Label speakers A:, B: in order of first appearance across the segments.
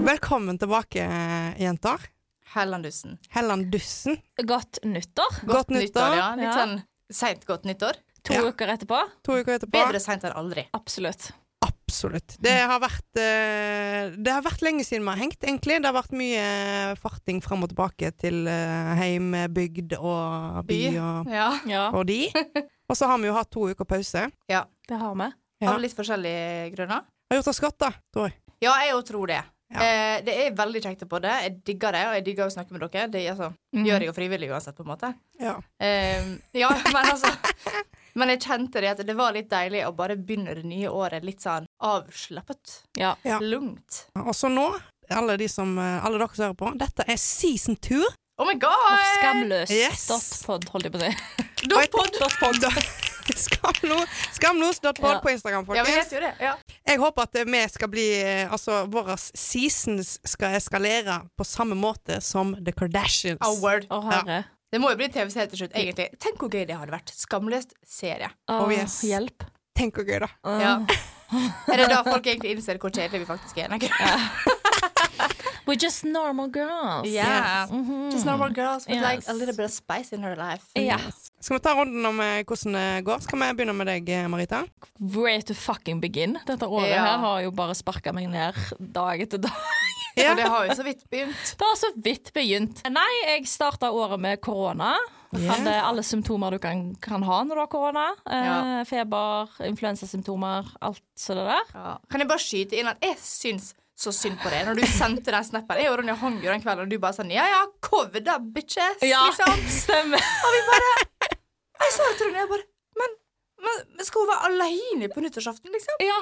A: Velkommen tilbake, jenter.
B: Hellandussen.
A: Helland Dussen.
C: Godt nyttår.
A: Godt nyttår.
B: ja. Litt
C: Ja.
B: sånn seint godt nyttår.
C: To
A: Ja.
C: uker etterpå.
A: To uker etterpå.
B: Bedre seint enn aldri.
C: Absolutt.
A: Absolutt. Det har vært eh, Det har vært lenge siden vi har hengt, egentlig. Det har vært mye eh, farting fram og tilbake til eh, heim, bygd og by
B: By.
A: og,
B: Ja.
C: Ja,
A: og de. Og så har vi jo hatt to uker pause.
C: det har vi.
A: Ja.
B: Av litt forskjellige grunner.
A: Har gjort oss godt, da, tror jeg.
B: Ja, jeg òg tror det.
A: Ja.
B: Eh, det er veldig kjekt å på det. Jeg digger det, og jeg digger å snakke med dere. Det altså,
C: Mm.
A: Mhm.
B: gjør jeg jo frivillig uansett, på en måte.
A: Ja.
B: Eh, ja, men altså Men jeg kjente det at det var litt deilig å bare begynne det nye året litt sånn avslappet.
C: Ja.
A: Ja.
B: Lungt.
A: Og så nå, alle, de som, eh, alle dere som hører på, dette er season two.
B: Oh my
C: Og
B: god!
C: skamløs.
A: Yes.
C: Pod, holdt jeg på å si.
A: Dot pod. Skamlos. Skamlos.pod
C: Ja.
A: på Instagram,
B: Ja, vi
A: folkens.
B: heter jo det. Ja.
A: Jeg håper at vi skal bli eh, Altså, våre seasons skal eskalere på samme måte som The Kardashians.
B: Oh, word.
C: Å, herre.
B: Det må jo bli en TV-serie til slutt, egentlig. Tenk hvor gøy det hadde vært. Skamløst serie.
C: Å,
A: Oh, yes.
C: Hjelp.
A: Tenk hvor gøy, da.
C: Å.
B: Ja. Er det da folk egentlig innser hvor kjedelige vi faktisk er? Nei,
C: We're just normal girls.
B: Yeah.
C: Mhm.
B: Just normal girls with like
C: Yes.
B: a little bit of spice in her life.
C: Ja.
A: Skal vi ta runden om eh, hvordan det går? Skal vi begynne med deg, eh, Marita?
C: Where to fucking begin? Dette året
B: Ja.
C: her har jo bare sparka meg ned dag etter dag.
A: Ja.
B: Og det har jo så vidt begynt.
C: Det har så vidt begynt. Nei, jeg starta året med korona.
A: Ja.
C: Hadde alle symptomer du kan, kan ha når du har korona. Eh,
B: Ja.
C: Feber, influensasymptomer, alt så det der.
B: Ja. Kan jeg bare skyte inn at jeg syns så synd på det når du sendte den snappen. Jeg og Ronja hang jo den kvelden, og du bare sånn Ja, ja, covid da, bitches. Liksom.
C: stemmer.
B: Jeg sa det til Ronja, jeg bare men, men, men skal hun være aleine på nyttårsaften, liksom?
C: Ja.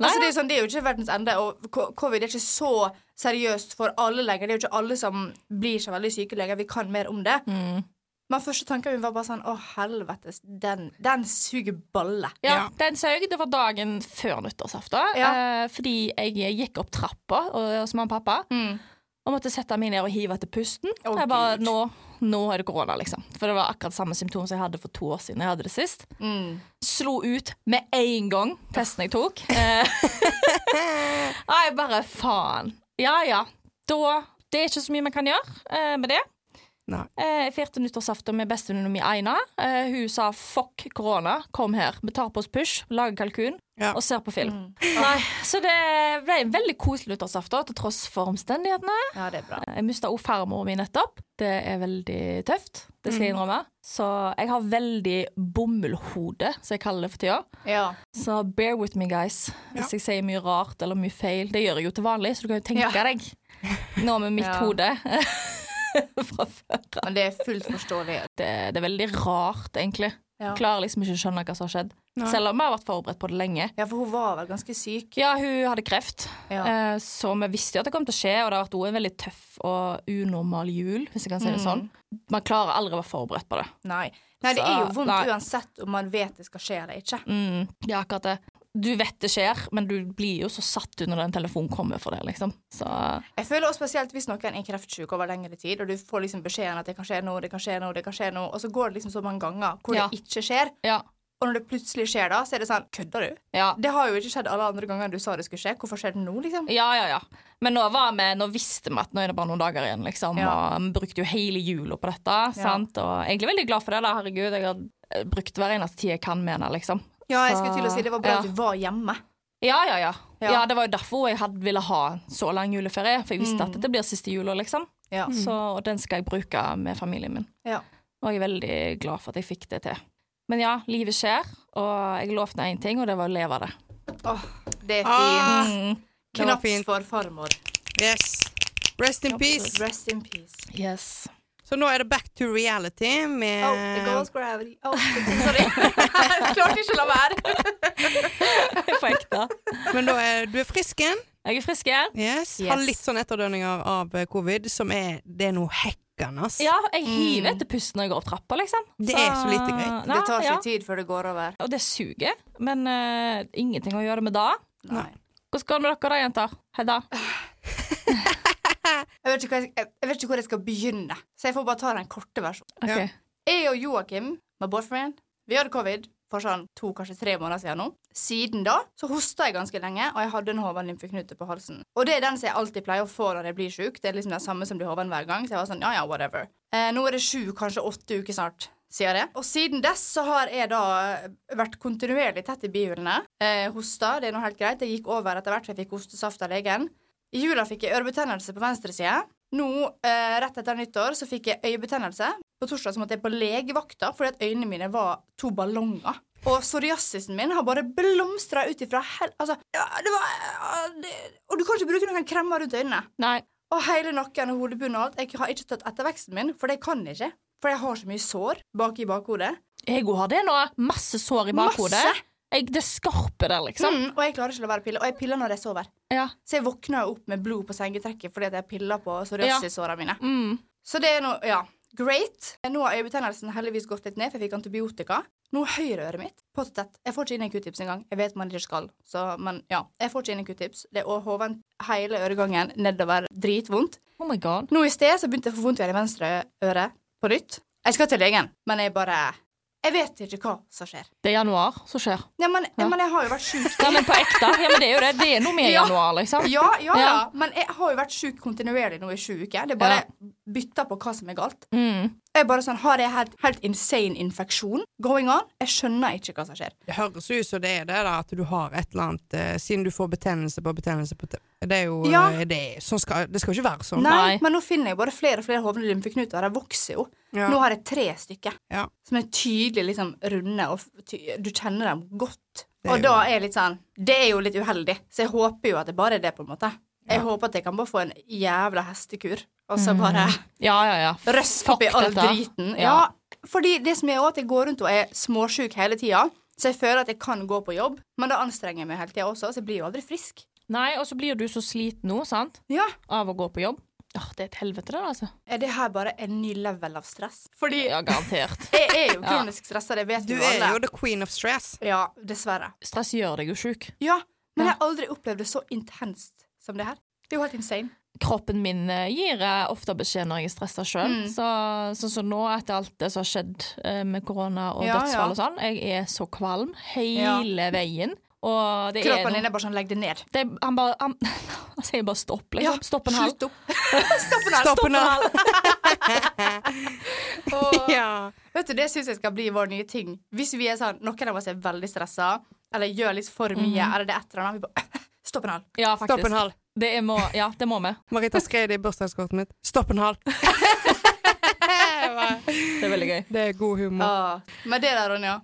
C: Nei,
B: Altså, det, er jo sånn, det er jo ikke verdens ende, og ko- covid er ikke så seriøst for alle lenger. Det er jo ikke alle som blir så veldig syke lenger. Vi kan mer om det.
C: Mm.
B: Men første tanken min var bare sånn Å, helvetes, den, den suger balle.
C: Ja,
A: Ja.
C: den saug. Det var dagen før nyttårsaften.
B: Ja.
C: Eh, fordi jeg gikk opp trappa og, eh, hos mamma og pappa og måtte sette meg ned og hive etter pusten.
B: Mm. Å,
C: jeg bare,
B: Gud.
C: nå, nå er det korona, liksom. For det var akkurat samme symptom som jeg hadde for to år siden. jeg hadde det sist.
B: Mm.
C: Slo ut med en gang testen jeg tok. Eh, og jeg bare faen. Ja ja. Da Det er ikke så mye man kan gjøre eh, med det.
A: Nei.
C: Eh, Jeg feirte nyttårsaften med bestevenninna mi Aina. Eh, Hun sa 'fuck korona, kom her'. Vi tar på oss push, lager kalkun
A: Ja.
C: og ser på film. Nei, så det ble en veldig koselig nyttårsaften til tross for omstendighetene.
B: Ja, det er bra.
C: Jeg mista òg farmor mi nettopp. Det er veldig tøft, det
B: Mm.
C: skal jeg innrømme. Så jeg har veldig bomullhode, som jeg kaller det for tida.
B: Ja.
C: Så bear with me, guys. Hvis jeg sier mye rart eller mye feil. Det gjør jeg jo til vanlig, så du kan jo tenke
B: Ja.
C: deg. Nå med mitt
B: Ja.
C: hode fra før.
B: Men det er fullt forståelig.
C: Det, det er veldig rart, egentlig.
B: Ja.
C: Klarer liksom ikke å skjønne hva som har skjedd.
A: Nei.
C: Selv om vi har vært forberedt på det lenge.
B: Ja, for hun var vel ganske syk.
C: Ja, hun hadde kreft,
B: Ja.
C: eh, så vi visste jo at det kom til å skje. Og det har vært også en veldig tøff og unormal jul, hvis jeg kan
B: Mm.
C: si det sånn. Man klarer aldri å være forberedt på det.
B: Nei. Nei, det
C: Så-
B: er jo vondt
C: nei.
B: uansett om man vet det skal skje eller ikke.
C: Mm, det er akkurat det. Du vet det skjer, men du blir jo så satt ut når den telefonen kommer for det, liksom. Så
B: Jeg føler også spesielt hvis noen er kreftsyk over lengre tid, og du får liksom beskjeden at det kan skje noe, det kan skje noe, det kan skje noe, og så går det liksom så mange ganger hvor
C: Ja.
B: det ikke skjer,
C: ja.
B: og når det plutselig skjer da, så er det sånn Kødder du?
C: Ja.
B: Det har jo ikke skjedd alle andre ganger du sa det skulle skje. Hvorfor skjer det nå, liksom?
C: Ja, ja, ja. Men nå, var vi, nå visste vi at nå er det bare noen dager igjen, liksom.
B: Ja.
C: Og vi brukte jo hele jula på dette. Sant? Og jeg er egentlig veldig glad for det. da, Herregud, jeg har eh, brukt hver eneste tid jeg kan med henne, liksom.
B: Ja, jeg
C: Så-
B: skulle til å si det var bra
C: ja.
B: at du var hjemme.
C: Ja, ja, ja.
B: Ja.
C: Ja, Det var jo derfor jeg hadde, ville ha så lang juleferie, for jeg visste at dette blir siste jula, liksom.
B: Ja.
C: Så, og den skal jeg bruke med familien min.
B: Ja.
C: Og jeg er veldig glad for at jeg fikk det til. Men ja, livet skjer, og jeg lovte én ting, og det var å leve av det.
B: Åh, det er
A: Ah,
B: fint.
C: Mm.
A: det var
B: Knaps
A: fint.
B: for farmor.
A: Yes. Rest in peace.
B: Rest in peace.
C: Yes.
A: Så nå er det back to reality med
B: Oh, the goals gravity. Oh, sorry. Jeg klarte ikke å la være.
C: På ekte.
A: Men da er du er frisk igjen.
C: Jeg er frisk igjen.
A: Yes.
B: Yes.
A: Har litt sånn etterdønninger av eh, covid, som er Det er noe hekkende, ass.
C: Ja, jeg hiver etter pusten når jeg går opp trappa, liksom.
A: Det er så lite greit.
C: Nei,
B: Det tar
C: ja.
B: ikke tid før det går over.
C: Og det suger, men eh, ingenting å gjøre med det.
B: Nei.
C: Hvordan går det med dere da, jenter? Hedda?
B: Jeg vet, ikke hvor jeg, jeg, jeg vet ikke hvor jeg skal begynne, så jeg får bare ta den korte versjonen.
C: Ok.
A: Ja.
B: Jeg og Joakim, my boyfriend, vi hadde covid. for sånn to, kanskje tre måneder siden nå. Siden da så hosta jeg ganske lenge, og jeg hadde en hoven-lymfeknute på halsen. Og det er den som jeg alltid pleier å få når jeg blir sjuk. Det er liksom den samme som blir hoven hver gang. Så jeg var sånn, ja, ja, whatever. Eh, nå er det sju, kanskje åtte uker snart. Siden det. Og siden dess så har jeg da eh, vært kontinuerlig tett i bihulene. Eh, hosta, det er nå helt greit. Det gikk over etter hvert, for jeg fikk hostesaft av legen. I jula fikk jeg ørebetennelse på venstre side. Nå, eh, rett etter nyttår, så fikk jeg øyebetennelse. På torsdag så måtte jeg på legevakta fordi at øynene mine var to ballonger. Og psoriasisen min har bare blomstra ut ifra hel... Altså, ja, det var ja, det, Og du kan ikke bruke noen kremmer rundt øynene.
C: Nei.
B: Og hele nakken og hodebunnen og alt. Jeg har ikke tatt etterveksten min, for det kan jeg ikke. For jeg har så mye sår bak i bakhodet.
C: Jeg òg har det nå. Masse sår i bakhodet.
B: Masse.
C: Jeg, det skarpe der, liksom.
B: Mm, og jeg klarer ikke å la være å pille. Og jeg piller når jeg sover.
C: Ja.
B: Så jeg våkner jo opp med blod på sengetrekket fordi at jeg piller på psoriasissårene mine.
C: Mm.
B: Så det er noe, ja, great. Nå har øyebetennelsen heldigvis gått litt ned, for jeg fikk antibiotika. Nå er høyreøret mitt pottet. Jeg får ikke inn en q-tips engang. Jeg vet man ikke skal, så, men ja. Jeg får ikke inn en q-tips. Det er å hoven hele øregangen nedover. Dritvondt.
C: Oh my god.
B: Nå i sted så begynte jeg å få vondt igjen i venstre øre på nytt. Jeg skal til legen, men jeg bare Jeg vet ikke hva som skjer.
C: Det er januar som skjer.
B: Ja, men,
C: Ja.
B: men jeg har jo vært sjuk.
C: Ja, men på ekte. Ja, men det er jo det. Det er noe med
B: Ja.
C: januar, liksom.
B: Ja, ja, ja.
C: Ja.
B: Men jeg har jo vært sjuk kontinuerlig nå i sju uker. Det er bare
C: Ja.
B: bytter på hva som er galt.
C: Mm.
B: Jeg er bare sånn, Har jeg helt, helt insane infeksjon going on? Jeg skjønner ikke hva som skjer.
A: Det høres ut som det er det, da, at du har et eller annet eh, Siden du får betennelse på betennelse på te- Det er jo
B: Ja.
A: eh, det, er- sånn skal, det skal jo ikke være sånn.
B: Nei,
C: Nei.
B: Men nå finner jeg bare flere og flere hovne lymfeknuter. De vokser jo.
A: Ja.
B: Nå har jeg tre stykker
A: Ja.
B: som er tydelig liksom runde, og f- ty du kjenner dem godt.
A: Det er
B: Og
A: jo-
B: da er jeg litt sånn Det er jo litt uheldig, så jeg håper jo at det bare er det, på en måte. Jeg håper at jeg kan bare få en jævla hestekur, og
A: Mm.
B: så bare
C: Ja, ja, ja.
B: Røsk opp i
C: Fuck
B: all
C: dette.
B: driten. Ja.
C: Ja.
B: fordi det som er også at jeg går rundt og er småsjuk hele tida, så jeg føler at jeg kan gå på jobb, men da anstrenger jeg meg hele tida også, så jeg blir jo aldri frisk.
C: Nei, og så blir du så sliten nå, sant,
B: Ja.
C: av å gå på jobb. Åh, det er et helvete, det, altså.
B: Er det her bare en ny level av stress? Fordi
C: Ja, garantert.
B: jeg er jo kronisk stressa, det vet
A: Du
B: jo
A: er
B: alle.
A: jo the queen of stress.
B: Ja, dessverre.
C: Stress gjør deg jo sjuk.
B: Ja, men
C: Ja.
B: jeg har aldri opplevd det så intenst som det her. Det er jo helt insane.
C: kroppen min eh, gir eh, ofte beskjed når jeg er stressa sjøl.
B: Mm.
C: Så, så, så nå, etter alt det som har skjedd eh, med korona og
B: Ja,
C: dødsfall
B: ja.
C: og sånn, jeg er så kvalm hele veien. Og det er
B: Kroppen
C: noe
B: din er bare sånn, legg det ned.
C: det, er- Han bare han, han sier bare stopp, liksom. stopp en halv.
B: Slutt opp. Stopp en halv.
A: Stopp en halv.
B: Og-
A: Ja.
B: Vet du, Det syns jeg skal bli vår nye ting. Hvis vi er sånn, noen av oss er veldig stressa, eller gjør litt for mye,
A: Mhm.
B: eller det er et eller annet, vi bare Stopp en hal.
C: Ja,
A: Stopp en
C: faktisk.
A: halv.
C: Det er må, ja, det må vi.
A: Marita skrev det i bursdagskortet mitt. Stopp en halv.
C: Det er veldig gøy.
A: Det er god humor.
B: Men det der, Ronja.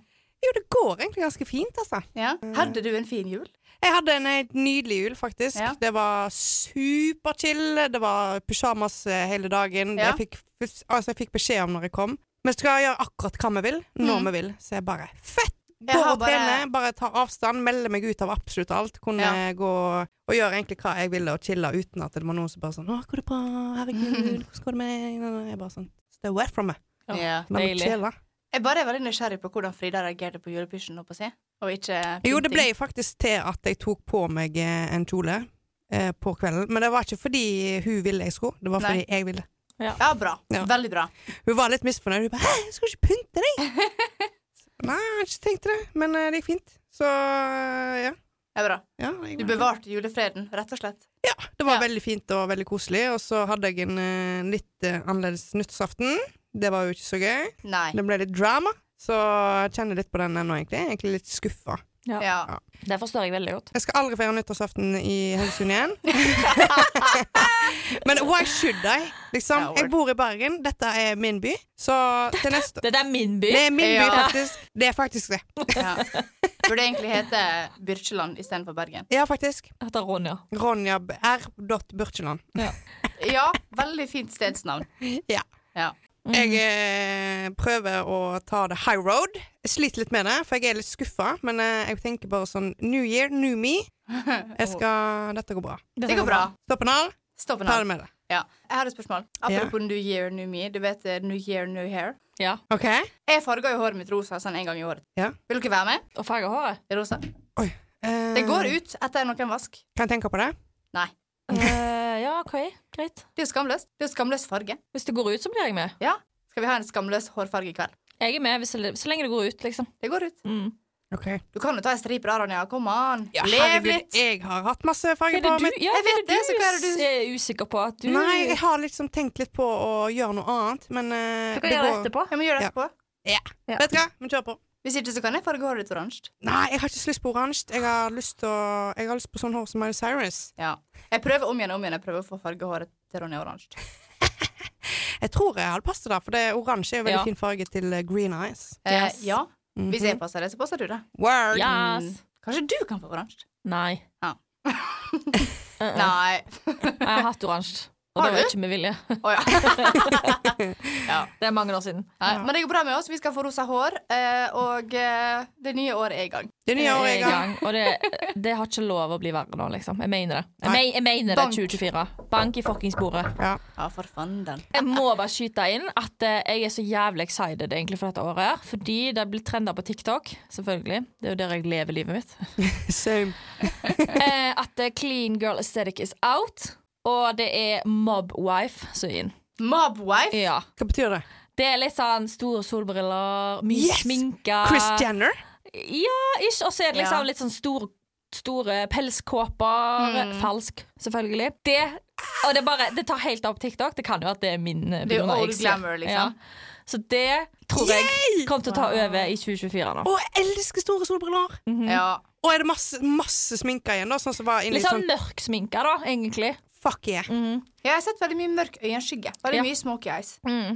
A: Jo, det går egentlig ganske fint, altså.
B: Ja? Hadde du en fin jul?
A: Jeg hadde en helt nydelig jul, faktisk.
B: Ja.
A: Det var superchill. Det var pysjamas eh, hele dagen.
B: Ja.
A: Jeg, fikk, fus- altså, jeg fikk beskjed om når jeg kom. Vi skal gjøre akkurat hva vi vil, når vi vil. Så jeg bare fett!
B: Mm. Jeg
A: Går
B: har
A: og
B: bare-
A: trener, bare tar avstand, melder meg ut av absolutt alt. Kunne
B: Ja.
A: gå og gjøre egentlig hva jeg ville, og chille uten at det var noen som bare sånn 'Å, går det bra? Herregud, hvordan går det med deg?' Jeg bare sånn Stay away from me.
C: Ja.
B: Ja.
A: La meg
C: Deilig.
A: chille.
B: Jeg bare er veldig nysgjerrig på hvordan Frida reagerte på julepysjen. holdt på å si. Og ikke
A: Jo, det
B: pynting.
A: ble faktisk til at jeg tok på meg eh, en kjole eh, på kvelden. Men det var ikke fordi hun ville jeg skulle, det var
B: Nei.
A: fordi jeg ville.
B: Ja, bra.
A: Ja.
B: Veldig bra.
A: Hun var litt misfornøyd. Hun bare 'Hæ, skal du ikke pynte deg?' Nei, jeg har ikke tenkt det, men eh, det gikk fint. Så eh, ja.
B: Ja, bra.
A: ja jeg-
B: Du bevarte julefreden, rett og slett.
A: Ja, det var
C: Ja.
A: veldig fint og veldig koselig. Og så hadde jeg en eh, litt eh, annerledes nyttårsaften. Det var jo ikke så gøy.
B: Nei.
A: Det ble litt drama. Så jeg kjenner litt på den ennå, egentlig. Jeg er Egentlig litt skuffa.
B: Ja.
C: Det forstår jeg veldig godt.
A: Jeg skal aldri feire nyttårsaften i Haugesund igjen. Men why should I? Liksom,
B: Ja,
A: jeg bor i Bergen. Dette er min by. Så til neste
C: Det der er min by.
A: Det er min by,
B: Ja.
A: faktisk. Det er faktisk det.
B: ja. Burde egentlig hete Byrkjeland istedenfor Bergen.
A: Ja, faktisk.
C: Heter Ronja.
A: Ronja B- R. Burkjeland.
B: Ja, veldig fint stedsnavn.
A: Ja.
B: Ja.
A: Jeg eh, prøver å ta det high road. Jeg sliter litt med det, for jeg er litt skuffa. Men eh, jeg tenker bare sånn New year, new me. Jeg skal, dette går bra.
B: Det går bra.
A: Stopp en hal,
B: Stopp en
A: ta
B: hal.
A: det med det.
B: Ja. Jeg har et spørsmål. Apropos New Year, New Me. Du vet eh, New Year, New Hair.
C: Ja.
A: OK?
B: Jeg farger jo håret mitt rosa sånn en gang i året.
A: Ja.
B: Vil dere være med?
C: Og farger håret.
B: I rosa?
A: Eh,
B: Det går ut etter noen vask.
A: Kan jeg tenke på det?
B: Nei.
C: Eh, ja, OK. Greit.
B: Det er jo skamløst. Det er jo skamløs farge.
C: Hvis det går ut, så blir jeg med.
B: Ja. Skal vi ha en skamløs hårfarge i kveld?
C: Jeg er med hvis, så lenge det går ut, liksom.
B: Det går ut.
C: Mm.
A: Ok.
B: Du kan jo ta en stripe der, Anja. Kom an.
A: Ja,
B: Lev
A: herregud,
B: litt.
A: jeg har hatt masse
C: Hva
A: farger
C: er
A: på
C: det
A: håret mitt.
C: du, ja,
B: Jeg
C: hva er
B: vet det, så hva er
C: det
B: det
C: du er usikker på? At du
A: Nei, jeg har liksom tenkt litt på å gjøre noe annet, men eh,
C: Du kan gjøre det
A: går-
C: etterpå.
B: Jeg må gjøre det
A: Ja.
B: etterpå.
C: Ja.
A: Vet du hva, vi kjører på.
B: Hvis ikke så kan jeg farge håret ditt oransje.
A: Nei, jeg har ikke så lyst på oransje. Jeg har lyst til å Jeg har lyst på sånn hår som Miley Cyrus.
B: Ja. Jeg prøver om igjen og om igjen Jeg prøver å få farge håret til Ronja oransje.
A: Jeg tror jeg hadde passet der, for det oransje er jo veldig
C: Ja.
A: fin farge til eh, green eyes.
B: Eh,
C: Yes.
B: ja.
A: Mhm.
B: Hvis jeg passer det, så passer du det.
A: Word!
C: Yes.
B: Mm. Kanskje du kan få oransje?
C: Nei.
B: Ja.
C: Uh-uh.
B: Nei.
C: Jeg har hatt oransje. Og
B: Har
C: det var
B: du?
C: ikke med vilje.
B: Å ja.
C: Det er mange år siden.
B: Nei. Men det går bra med oss. Vi skal få rosa hår. eh, Og eh, det nye året er i Eh, gang.
A: Det nye året er i gang.
C: Og det, det har ikke lov å bli verre nå, liksom. Jeg mener det.
A: Nei.
C: Jeg, me- jeg mener det
B: Bank.
C: 2024. Bank i fuckings bordet.
A: Ja.
B: Ja, for fanden.
C: Jeg må bare skyte inn at eh, jeg er så jævlig excited egentlig for dette året. her Fordi det blir trenda på TikTok, selvfølgelig. Det er jo der jeg lever livet mitt.
A: Same.
C: Eh, at eh, clean girl aesthetic is out, og det er mob wife som er inn.
B: Mobwife.
C: Ja.
A: Hva betyr det?
C: Det er litt sånn store solbriller, mye
A: Yes!
C: sminke.
B: Ah.
A: Chris Jenner?
C: Ja, ish. Og så er det liksom
B: Ja.
C: litt sånn store, store pelskåper. Falsk, selvfølgelig. Det, og det, bare, det tar helt av på TikTok. Det kan jo at det er min eh,
B: Det er jo
C: Bruna
B: old
C: X,
B: glamour, liksom.
C: Så det tror jeg kommer til å ta over i 2024 nå.
A: Å, jeg elsker store solbriller!
B: Ja.
A: Og er det masse, masse sminke igjen, da? Sånn som var inni
C: Litt sånn Mm.
A: sånn
C: mørk sminke, da, egentlig.
A: Fuck
B: Mm.
A: yeah.
B: Ja, jeg har sett veldig mye mørk øyenskygge. Veldig
C: Ja.
B: mye smoky eyes.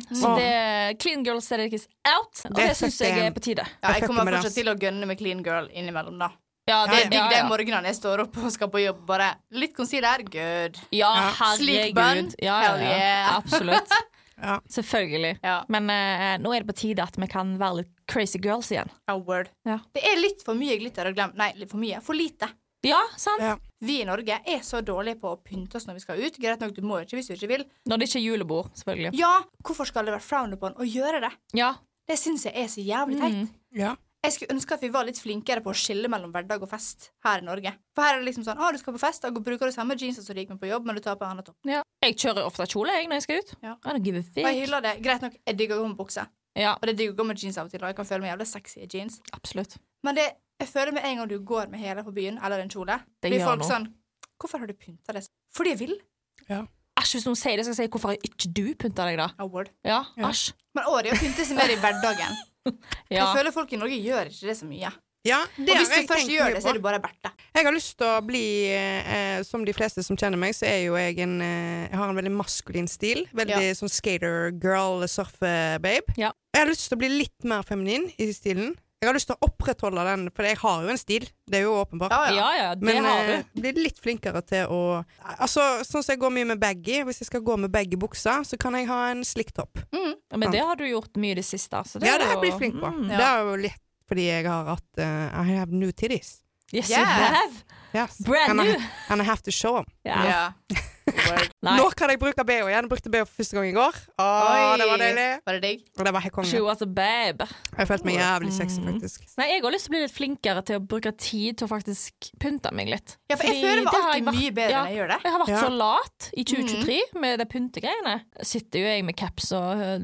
C: Så
A: Åh.
C: det Clean Girl Aesthetic is out, og
A: Det
C: det syns
A: setter
C: jeg er
A: jeg-
C: på tide.
B: Ja,
A: Jeg
B: jeg
A: fucker
B: kommer
A: med det,
B: fortsatt
A: ass.
B: til å gønne med clean girl innimellom, da.
C: Ja,
B: Det
A: Ja,
B: er
A: ja.
B: digg de
C: ja.
B: morgenene jeg står opp og skal på jobb. Bare litt concealer, good.
C: Ja,
B: Sleek bun,
C: herregud. Ja, ja,
B: hell
C: ja.
B: yeah.
C: Absolutt.
A: Ja.
C: Selvfølgelig.
B: Ja,
C: Men eh, nå er det på tide at vi kan være litt crazy girls igjen.
B: ja, word.
C: Ja.
B: Det er litt for mye glitter og glem. Nei, litt for mye. For lite.
C: Ja, sant?
A: Ja.
B: Vi i Norge er så dårlige på å pynte oss når vi skal ut. Greit nok, du må jo ikke hvis du ikke vil.
C: Når det ikke er julebord, selvfølgelig.
B: Ja, hvorfor skal det være frowned upon å gjøre det?
C: Ja.
B: Det syns jeg er så jævlig
C: Mm.
B: teit.
A: ja.
B: Jeg skulle ønske at vi var litt flinkere på å skille mellom hverdag og fest her i Norge. For her er det liksom sånn ah, du skal på fest, da bruker du samme jeanser som du gikk med på jobb, men du tar på en annen topp.
C: Jeg kjører ofte kjole jeg, når jeg skal ut.
B: Ja.
C: I don't give a
B: Og jeg
C: fuck.
B: hyller det. Greit nok, jeg digger å gå med bukse.
C: Ja,
B: Og det digger å gå med jeans av og til, og jeg kan føle meg jævlig sexy i jeans.
C: absolutt.
B: Men det, jeg føler med en gang du går med hele på byen, eller en kjole,
C: Det
B: blir
C: gjør
B: folk
C: noe.
B: sånn Hvorfor har du pynta deg? sånn?» Fordi jeg vil.
C: Æsj, hvis noen sier det, skal jeg si hvorfor har ikke du pynta deg, da?
B: Award.
C: Ja,
A: Ja.
C: æsj.
B: Men året er å pynte seg mer i hverdagen.
C: Ja.
B: Jeg føler folk i Norge gjør ikke det så mye.
A: ja det
B: Og
A: har
B: hvis
A: jeg
B: du først
A: tenkt
B: gjør
A: mye
B: det,
A: på.
B: så er du bare Bertha.
A: Jeg har lyst til å bli eh, Som de fleste som kjenner meg, så er jo jeg en eh, Jeg har en veldig maskulin stil. Veldig sånn skater girl, surfe-babe.
C: Ja.
A: Jeg har lyst til å bli litt mer feminin i stilen. Jeg har lyst til å opprettholde den, for jeg har jo en stil. Det er jo åpenbart.
B: Ja, ja.
C: Ja, ja, det
A: Men
C: har
A: eh,
C: du.
A: bli litt flinkere til å Altså, Sånn som jeg går mye med baggy, hvis jeg skal gå med baggy bukser, så kan jeg ha en slik topp.
B: Mm.
C: Men det har du gjort mye i det siste. Så det
A: ja,
C: er
A: det har
C: jo-
A: jeg blitt flink på.
C: Mm.
A: Det er jo litt fordi jeg har hatt eh, I have new titties.
C: Yes,
B: Yes.
C: you have.
A: Yes.
C: Brand
A: and, I,
C: new.
A: and I have to show 'em.
C: Ja.
B: Word.
C: Nei,
A: Nå kan jeg bruke BH igjen. Jeg brukte BH for første gang i går. Å,
B: Oi.
A: det var deilig.
B: Var det digg?
A: Og det var helt konge.
C: she was a babe.
A: Jeg følte meg jævlig sexy, faktisk.
C: Nei, jeg har lyst til å bli litt flinkere til å bruke tid til å faktisk pynte meg litt.
B: Ja, for jeg
C: Fordi
B: føler meg
C: det har
B: alltid
C: vært-
B: mye bedre
C: ja.
B: enn jeg gjør det.
C: Jeg har vært
A: Ja.
C: så lat i 2023 med de pyntegreiene. Sitter jo jeg med caps og øh,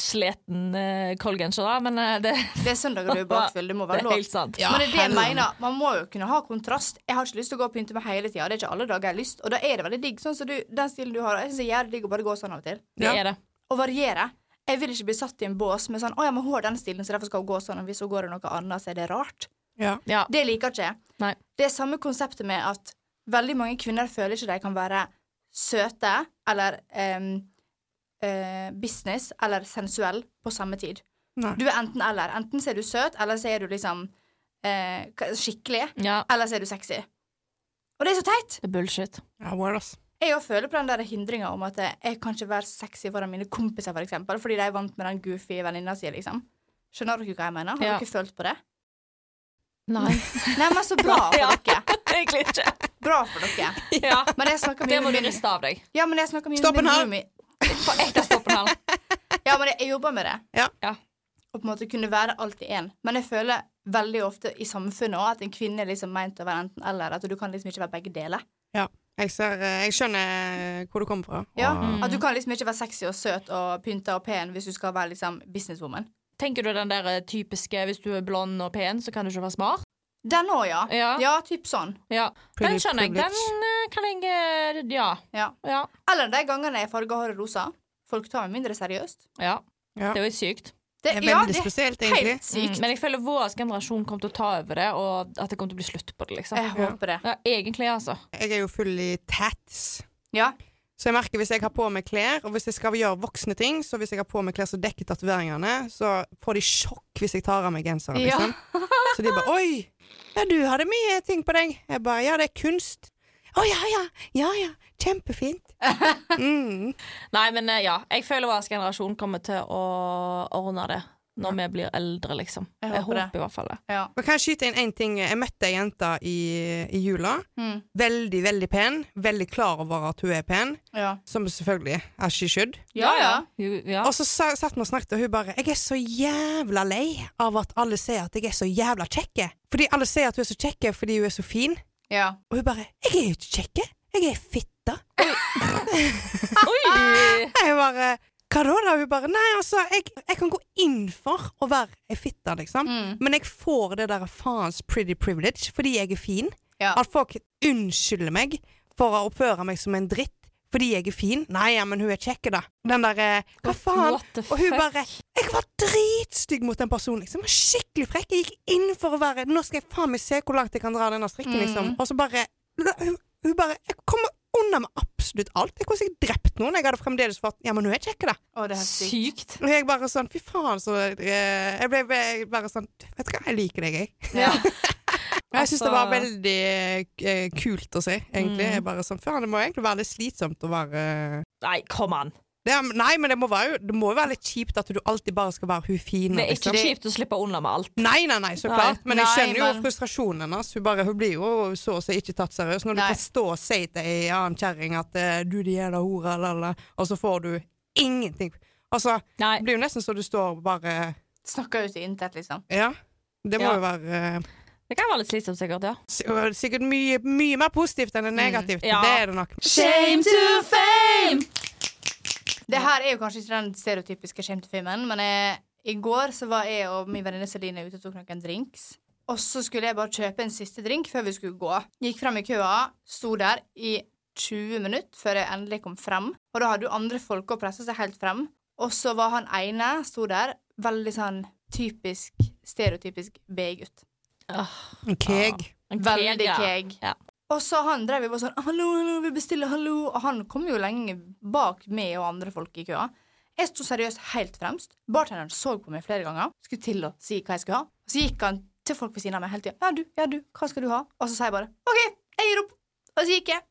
C: sleten øh, koldgenser, da, men øh, det,
B: Det er søndag og du er bakfull, det må
C: det
B: være
C: er
B: lov.
C: helt sant.
B: Men det er det jeg mener. Man må jo kunne ha kontrast. Jeg har ikke lyst til å gå og pynte meg hele tida. Det er ikke alle dager jeg har lyst. Og da er det veldig digg. Sånn som du, den stilen du har, jeg syns det er jævlig digg å bare gå sånn av og til.
C: Det
A: Ja.
C: er det.
B: å variere. Jeg vil ikke bli satt i en bås med sånn 'Å ja, men hun har den stilen, så derfor skal hun gå sånn.' Og hvis hun går i noe annet, så er det rart.
A: Ja.
C: Ja.
B: Det liker ikke jeg.
C: Nei.
B: Det er samme konseptet med at veldig mange kvinner føler ikke de kan være søte eller em, eh, business eller sensuell på samme tid.
A: Nei.
B: Du er enten eller. Enten så er du søt, eller så er du liksom eh, hva- skikkelig,
C: ja.
B: eller så er du sexy. Og det er så teit!
C: Det er bullshit.
A: Ja, word, ass.
B: Jeg også føler på den der hindringa om at eh, jeg kan ikke være sexy foran mine kompiser, for eksempel, fordi de er vant med den goofy venninna si, liksom. Skjønner dere hva jeg mener? Har
C: Ja.
B: dere følt på det?
C: Nei,
B: Nei, men så bra for
C: Ja.
B: dere.
C: egentlig ikke.
B: Bra for dere.
C: Ja.
B: Men jeg snakker
C: Det
B: mye
C: må
B: med
C: du
B: min
C: riste av deg.
B: Ja, men jeg snakker mye
A: Stopp
B: med
A: en
B: min
A: hal.
B: roomie.
C: På ekte stoppenhall.
B: Ja, men jeg, jeg jobber med det.
A: Ja.
C: Ja.
B: Og på en måte kunne være alt i én. Men jeg føler veldig ofte i samfunnet òg at en kvinne er liksom meint å være enten eller. At du kan liksom ikke være begge deler.
A: Jeg, ser, eh, jeg skjønner hvor du kommer fra.
B: Ja.
A: Og,
B: At du kan liksom ikke være sexy og søt og pynta og pen hvis du skal være liksom businesswoman.
C: Tenker du den der eh, typiske hvis du er blond og pen, så kan du ikke være smart?
B: Den òg, ja.
C: Ja.
B: Ja, typ sånn.
C: Ja. Den
A: Pretty
C: skjønner jeg.
A: privilege.
C: Den eh, kan jeg eh, Ja.
B: Ja.
C: Ja.
B: Eller de gangene jeg farger håret rosa. Folk tar meg mindre seriøst.
C: ja.
A: Ja.
C: Det er jo helt sykt.
A: Det er
B: ja,
A: veldig
B: det
A: spesielt,
B: er
A: egentlig. Mm.
B: helt sykt.
C: Men jeg føler vår generasjon kommer til å ta over det, og at det kommer til å bli slutt på det, liksom.
B: Jeg håper det.
C: Ja, egentlig, altså.
A: Jeg er jo full i tats.
B: Ja.
A: Så jeg merker hvis jeg har på meg klær, og hvis jeg skal gjøre voksne ting, så hvis jeg har på meg klær som dekker tatoveringene, så får de sjokk hvis jeg tar av meg genseren,
C: Ja.
A: liksom. Så de bare 'Oi, ja, du hadde mye ting på deg.' Jeg bare 'Ja, det er kunst'. 'Å ja, ja. Ja ja. Kjempefint'. Mm.
C: Nei, men eh, ja. Jeg føler vår generasjon kommer til å ordne det når vi blir eldre, liksom.
B: Jeg
C: Jeg
B: håper
C: håper,
B: det.
C: i hvert fall det.
B: ja.
A: Og kan jeg skyte inn én ting? Jeg møtte ei jente i, i jula.
B: Mm.
A: Veldig, veldig pen. Veldig klar over at hun er pen.
B: Ja.
A: Som selvfølgelig as she should.
B: Ja, ja.
C: Jo, ja.
A: Og så sa- satt vi og snakket, og hun bare 'Jeg er så jævla lei av at alle sier at jeg er så jævla kjekke'. Fordi alle sier at hun er så kjekke fordi hun er så fin.
B: ja.
A: Og hun bare 'Jeg er jo ikke kjekke. Jeg er fitte'.
C: Oi!
A: Jeg bare 'Hva da?' da? Hun bare 'Nei, altså, jeg, jeg kan gå inn for å være ei fitte, liksom'.
B: Mm.
A: Men jeg får det der faens pretty privilege fordi jeg er fin.
B: Ja.
A: At folk unnskylder meg for å oppføre meg som en dritt fordi jeg er fin. Nei, ja, men hun er kjekk, da. Den derre Hva faen?
C: What the
A: Og hun
C: fuck?
A: bare Jeg var dritstygg mot den personen. Liksom. Jeg var skikkelig frekk. Jeg gikk inn for å være Nå skal jeg faen meg se hvor langt jeg kan dra denne strikken,
C: Mm.
A: liksom. Og så bare Hun, hun bare Jeg kommer unna med absolutt alt. Jeg kunne sikkert drept noen. Jeg hadde fremdeles fått Ja, men hun er kjekk, da.
B: Å, det er helt sykt.
C: Sykt.
A: Og jeg bare sånn Fy faen, så eh, Jeg ble ble bare sånn Vet du hva, jeg liker deg, jeg.
B: Ja.
A: Jeg syns
C: Altså- Mm.
A: det var veldig eh, kult å se, egentlig. Jeg bare sånn Faen, det må egentlig være litt slitsomt å være eh,
C: Nei, kom an.
A: det er, Nei, men det må, være, jo- det må jo være litt kjipt at du alltid bare skal være hun fine.
C: Det er
A: liksom.
C: ikke kjipt å slippe unna med alt.
A: Nei, nei, nei, så
C: Nei.
A: klart. Men jeg
B: Nei,
A: skjønner jo
B: men-
A: frustrasjonen hennes. Hun, bare, hun blir jo så å si ikke tatt seriøst. Når du
B: Nei.
A: kan stå og si til ei annen kjerring at eh, 'du, de jævla hora', la, la, og så får du ingenting. Altså,
C: Nei.
A: det blir jo nesten så du står og bare
B: Snakker jo til intet, liksom.
A: Ja. Det må
C: Ja.
A: jo være eh,
C: Det kan være litt slitsomt, sikkert. ja
A: si- og sikkert mye, mye mer positivt
B: Mm,
A: enn det negativt.
C: Ja.
A: Det er det nok.
B: Shame to fame! Det her er jo kanskje ikke den stereotypiske shame to fame-en, men jeg, i går så var jeg og min venninne Celine ute og tok noen drinks. Og så skulle jeg bare kjøpe en siste drink før vi skulle gå. Gikk frem i køa, sto der i 20 minutter før jeg endelig kom frem. Og da hadde jo andre folk også pressa seg helt frem. Og så var han ene, sto der, veldig sånn typisk, stereotypisk B-gutt.
A: En keg.
C: En
B: Veldig
C: keg, ja.
B: keg. Og så han drev jo bare sånn 'Hallo, hallo, vi bestiller, hallo.' Og han kom jo lenge bak meg og andre folk i køa. Jeg sto seriøst helt fremst. Bartenderen så på meg flere ganger. Skulle til å si hva jeg skulle ha. Og så gikk han til folk ved siden av meg hele tida. 'Ja, du, ja, du, hva skal du ha?' Og så sa jeg bare 'OK, jeg gir opp.' Og så gikk jeg.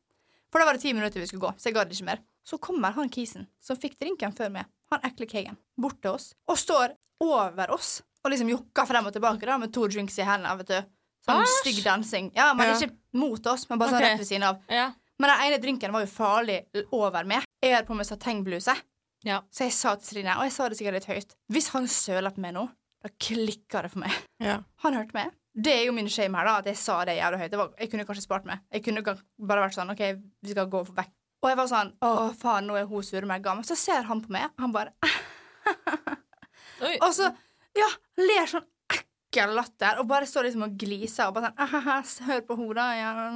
B: For da var det ti minutter vi skulle gå, så jeg gadd ikke mer. Så kommer han kisen som fikk drinken før meg, han ekle kegen, bort til oss og står over oss og liksom jokker frem og tilbake da med to drinks i hendene. vet du. Sånn
C: Æsj!
B: stygg dansing. Ja, men
A: Ja.
B: ikke mot oss, men bare sånn
C: Ok.
B: rett ved siden av.
C: Ja.
B: Men den ene drinken var jo farlig l- over meg. Jeg hadde på meg satengbluse,
C: Ja.
B: så jeg sa til Trine, og jeg sa det sikkert litt høyt Hvis han søler på meg nå, da klikker det for meg.
A: Ja.
B: Han hørte meg. Det er jo min shame her, da, at jeg sa det jævlig høyt. Det var, jeg kunne kanskje spart meg. Jeg kunne ga- bare vært sånn OK, vi skal gå vekk. Og jeg var sånn Å, faen, nå er hun surmerga. Men så ser han på meg, han bare
C: Oi.
B: Og så ja, ler sånn ekkel latter og bare står liksom og gliser og bare sånn «Ahaha, Hør på hodet. Ja.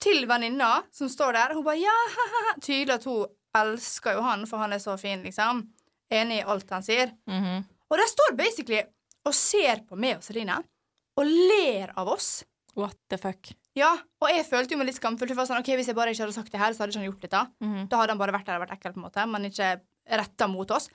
B: Til venninna som står der. Hun bare ja, ha-ha. Tydelig at hun elsker jo han, for han er så fin, liksom. Enig i alt han sier.
C: Mhm.
B: Og der står basically og ser på meg og Celine og ler av oss.
C: What the fuck.
B: Ja, og jeg følte jo meg litt skamfull. For jeg var sånn, ok, Hvis jeg bare ikke hadde sagt det her, så hadde ikke han gjort dette.
C: Mhm.
B: Da hadde han bare vært der og vært ekkel, på en måte, men ikke retta mot oss.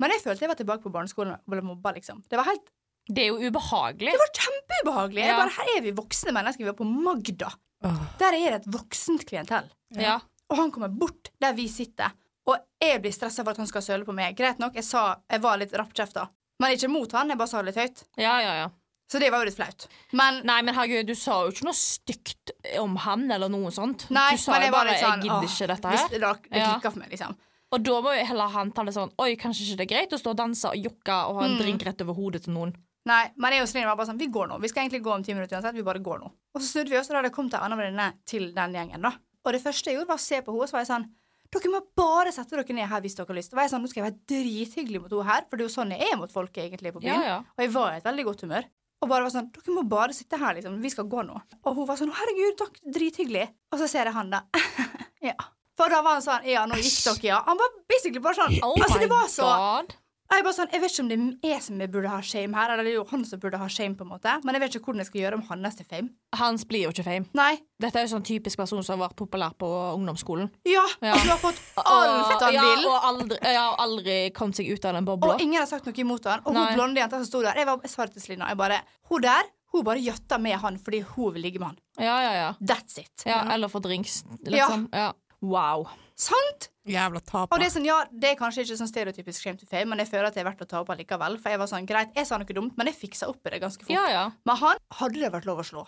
B: Men jeg følte jeg var tilbake på barneskolen og ble mobba, liksom. Det var helt
C: Det er jo ubehagelig.
B: det var kjempeubehagelig. Jeg
C: Ja.
B: bare, her er vi voksne mennesker. Vi var på Magda.
A: Åh.
B: Der er det et voksent klientell.
C: Ja.
B: Og han kommer bort der vi sitter. Og jeg blir stressa for at han skal søle på meg. Greit nok, jeg, sa, jeg var litt rappkjefta. Men ikke mot han, jeg bare sa det litt høyt.
C: ja, ja, ja.
B: Så det var jo litt flaut. Men
C: Nei, men herregud, du sa jo ikke noe stygt om han eller noe sånt.
B: nei,
C: du sa
B: men
C: jo
B: jeg var
C: bare
B: litt sånn
C: 'jeg gidder
B: åh,
C: ikke dette
B: hvis
C: her'.
B: Det, da- det
C: Ja.
B: klikka for meg, liksom.
C: Og da må jo heller han ta det sånn 'oi, kanskje ikke det er greit å stå og danse og jokke og ha en
B: Mm.
C: drink rett over hodet til noen'.
B: Nei, men jeg og Celine var bare sånn, vi går nå. Vi skal egentlig gå om ti minutter uansett. Vi bare går nå. Og så snudde vi oss, og da hadde det kommet en annen venninne til den gjengen, da. Og det første jeg gjorde, var å se på henne, og så var jeg sånn Dere må bare sette dere ned her hvis dere har lyst. Og jeg sånn, nå skal jeg være drithyggelig mot henne her, for det er jo sånn jeg er mot folket egentlig på
C: Ja,
B: byen.
C: ja.
B: Og jeg var i et veldig godt humør. Og bare var sånn, dere må bare sitte her, liksom. Vi skal gå nå. Og hun var sånn, herregud, takk, drithyggelig. Og så ser jeg han da. ja. For da var han sånn, ja, nå gikk dere, ja. Han var basically bare sånn,
C: Oh
B: altså
C: my
B: det var så...
C: god.
B: Og Jeg bare sånn, jeg vet ikke om det er jeg som burde ha shame her, eller det er jo han som burde ha shame på en måte. Men jeg vet ikke hvordan jeg skal gjøre om hans til fame.
C: Hans blir jo ikke fame.
B: Nei,
C: Dette er jo sånn typisk person som har vært populær på ungdomsskolen.
B: ja,
C: Ja.
B: altså du har fått alt han
C: ja,
B: vil.
C: Og aldri, ja, og aldri kommet seg ut av den bobla.
B: Og ingen har sagt noe imot han. Og
C: Nei.
B: hun blonde jenta som sto der, jeg, var, jeg sa det til Slina, jeg bare, hun der, hun bare jatta med han fordi hun vil ligge med han.
C: Ja, ja, ja.
B: That's it.
C: ja eller for drinks, liksom. Ja. Wow.
B: Sant?
A: Jævla
B: Og det
A: taper.
B: er sånn, ja, det er kanskje ikke sånn stereotypisk shame to fame, men jeg føler at det er verdt å ta opp allikevel. For jeg var sånn, greit, jeg sa noe dumt, men jeg fiksa opp i det ganske fort.
C: Ja, ja.
B: Men han hadde det vært lov å slå.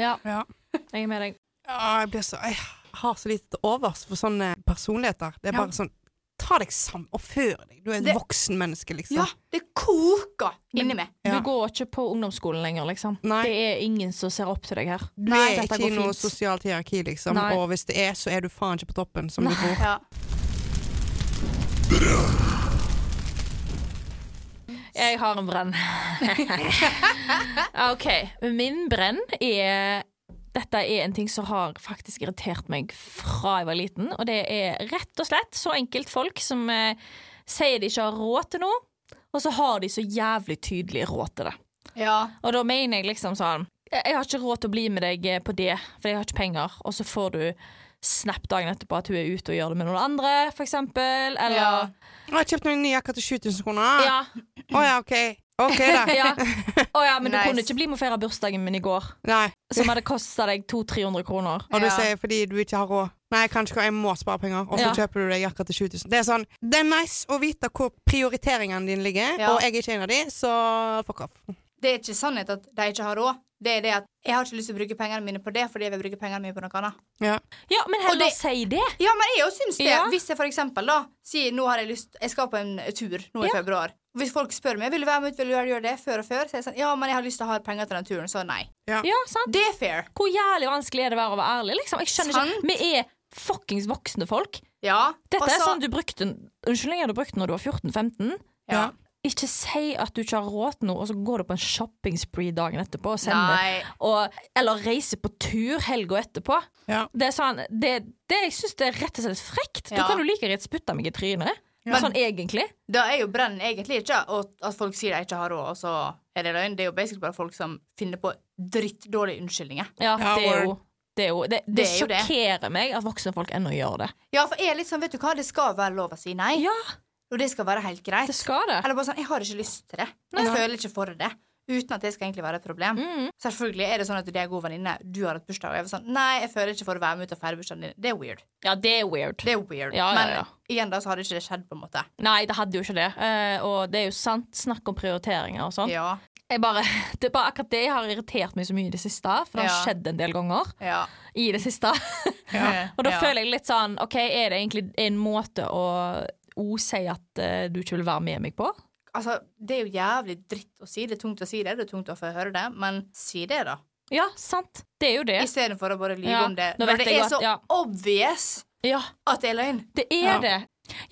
C: ja.
A: Ja.
C: Jeg er med deg.
A: Ja, jeg, blir så, jeg har så lite til overs for sånne personligheter. Det er
B: Ja.
A: bare sånn Ta deg sammen, oppfør deg. Du er et
B: Det-
A: voksen menneske, liksom.
B: Ja, det koker inni meg.
A: Ja.
C: Du går ikke på ungdomsskolen lenger, liksom.
A: Nei.
C: Det er ingen som ser opp til deg her.
A: Du
C: Nei,
A: er
C: dette
A: ikke i
C: går
A: noe
C: fint.
A: sosialt hierarki, liksom.
C: Nei.
A: Og hvis det er, så er du faen ikke på toppen, som du tror.
B: Ja.
C: Jeg har en brenn. OK. Min brenn er Dette er en ting som har faktisk irritert meg fra jeg var liten. Og det er rett og slett så enkelt folk som eh, sier de ikke har råd til noe, og så har de så jævlig tydelig råd til det.
B: ja.
C: Og da mener jeg liksom sånn Jeg jeg har ikke råd til å bli med deg eh, på det, for jeg har ikke penger. Og så får du snap dagen etterpå at hun er ute og gjør det med noen andre, for eksempel. Eller ja.
B: Ja.
A: Jeg har kjøpt meg en ny jakke til 7000 kroner. Ah, Å ja.
C: Ja,
A: OK. OK, da.
C: Å ja, men
B: Nice.
C: du kunne ikke bli med og feire bursdagen min i går,
A: Nei.
C: som hadde kosta deg 200-300 kroner.
A: Og du
B: Ja.
A: sier fordi du ikke har råd. Nei, jeg kan ikke, jeg må spare penger. Og så
C: Ja.
A: kjøper du deg jakke til 7000. Det er sånn, det er nice å vite hvor prioriteringene dine ligger,
B: Ja.
A: og jeg er ikke en av de, så fuck off.
B: Det er ikke sannhet at de ikke har råd. Det er det at jeg har ikke lyst til å bruke pengene mine på det fordi jeg vil bruke pengene mine på noe annet.
A: Ja.
C: Ja, men
B: Og
C: heller
B: det-
C: si det.
B: Ja, men jeg jo syns det.
C: Ja.
B: Hvis jeg for eksempel da sier nå har jeg lyst Jeg skal på en tur nå i
C: Ja.
B: februar. Hvis folk spør meg vil du være med ut, vil du gjøre det før og før, så er jeg sånn ja, men jeg har lyst til å ha penger til den turen, så nei.
C: Ja, sant?
B: Det er fair.
C: Hvor jævlig vanskelig er det å være å være ærlig? Liksom? Jeg skjønner
B: Sant.
C: ikke. Vi er fuckings voksne folk.
B: Ja.
C: Dette
B: Og
C: er
B: så-
C: sånn du brukte Unnskyldninger du brukte når du var 14-15.
B: ja.
C: Ikke si at du ikke har råd til noe, og så går du på en shoppingspree dagen etterpå og sender.
B: Nei.
C: Og, eller reiser på tur helga etterpå.
A: Ja.
C: Det er sånn, det, det, jeg syns det er rett og slett frekt.
B: Ja.
C: Da kan du like greit spytte meg i trynet.
B: Ja.
C: Sånn egentlig.
B: Da er jo brennen egentlig ikke at at folk sier de ikke har råd, og så er det løgn. Det er jo basically bare folk som finner på drittdårlige unnskyldninger.
C: Ja,
A: Ja,
C: det er jo
A: word.
C: det, er jo, det, det,
B: Det er jo det.
C: sjokkerer meg at voksne folk ennå gjør det.
B: Ja, for jeg er litt sånn, vet du hva, det skal være lov å si nei.
C: Ja,
B: Og det skal være helt greit.
C: det skal det.
B: Eller bare sånn, jeg har ikke lyst til det. Jeg føler ikke for det. Uten at det skal egentlig være et problem.
C: Mm.
B: Selvfølgelig er det sånn at du er god venninne, du har hatt bursdag, og jeg var sånn, nei, jeg føler ikke for å være med ut og feire bursdagen din. Det er weird.
C: Ja, det er weird.
B: Det er weird.
C: Ja, ja,
B: Men
C: ja.
B: igjen da, så hadde ikke det skjedd på en måte.
C: Nei, det hadde jo ikke det. Eh, og det er jo sant. Snakk om prioriteringer og sånn.
B: Ja,
C: Jeg bare, det er bare akkurat det har irritert meg så mye i det siste, for det har
B: Ja.
C: skjedd en del ganger
B: ja.
C: i det siste. Og da føler jeg litt sånn OK, er det egentlig en måte å O si at eh, du ikke vil være med meg på?
B: Altså, det er jo jævlig dritt å si. Det er tungt å si det, det er tungt å få høre det, men si det da.
C: Ja, sant. Det er jo det.
B: Istedenfor å bare lyve
C: Ja,
B: om det.
C: nå
B: Når
C: vet
B: det
C: jeg
B: er
C: godt,
B: så
C: ja.
B: obvious
C: Ja,
B: at det er løgn.
C: det er
A: Ja.
C: det.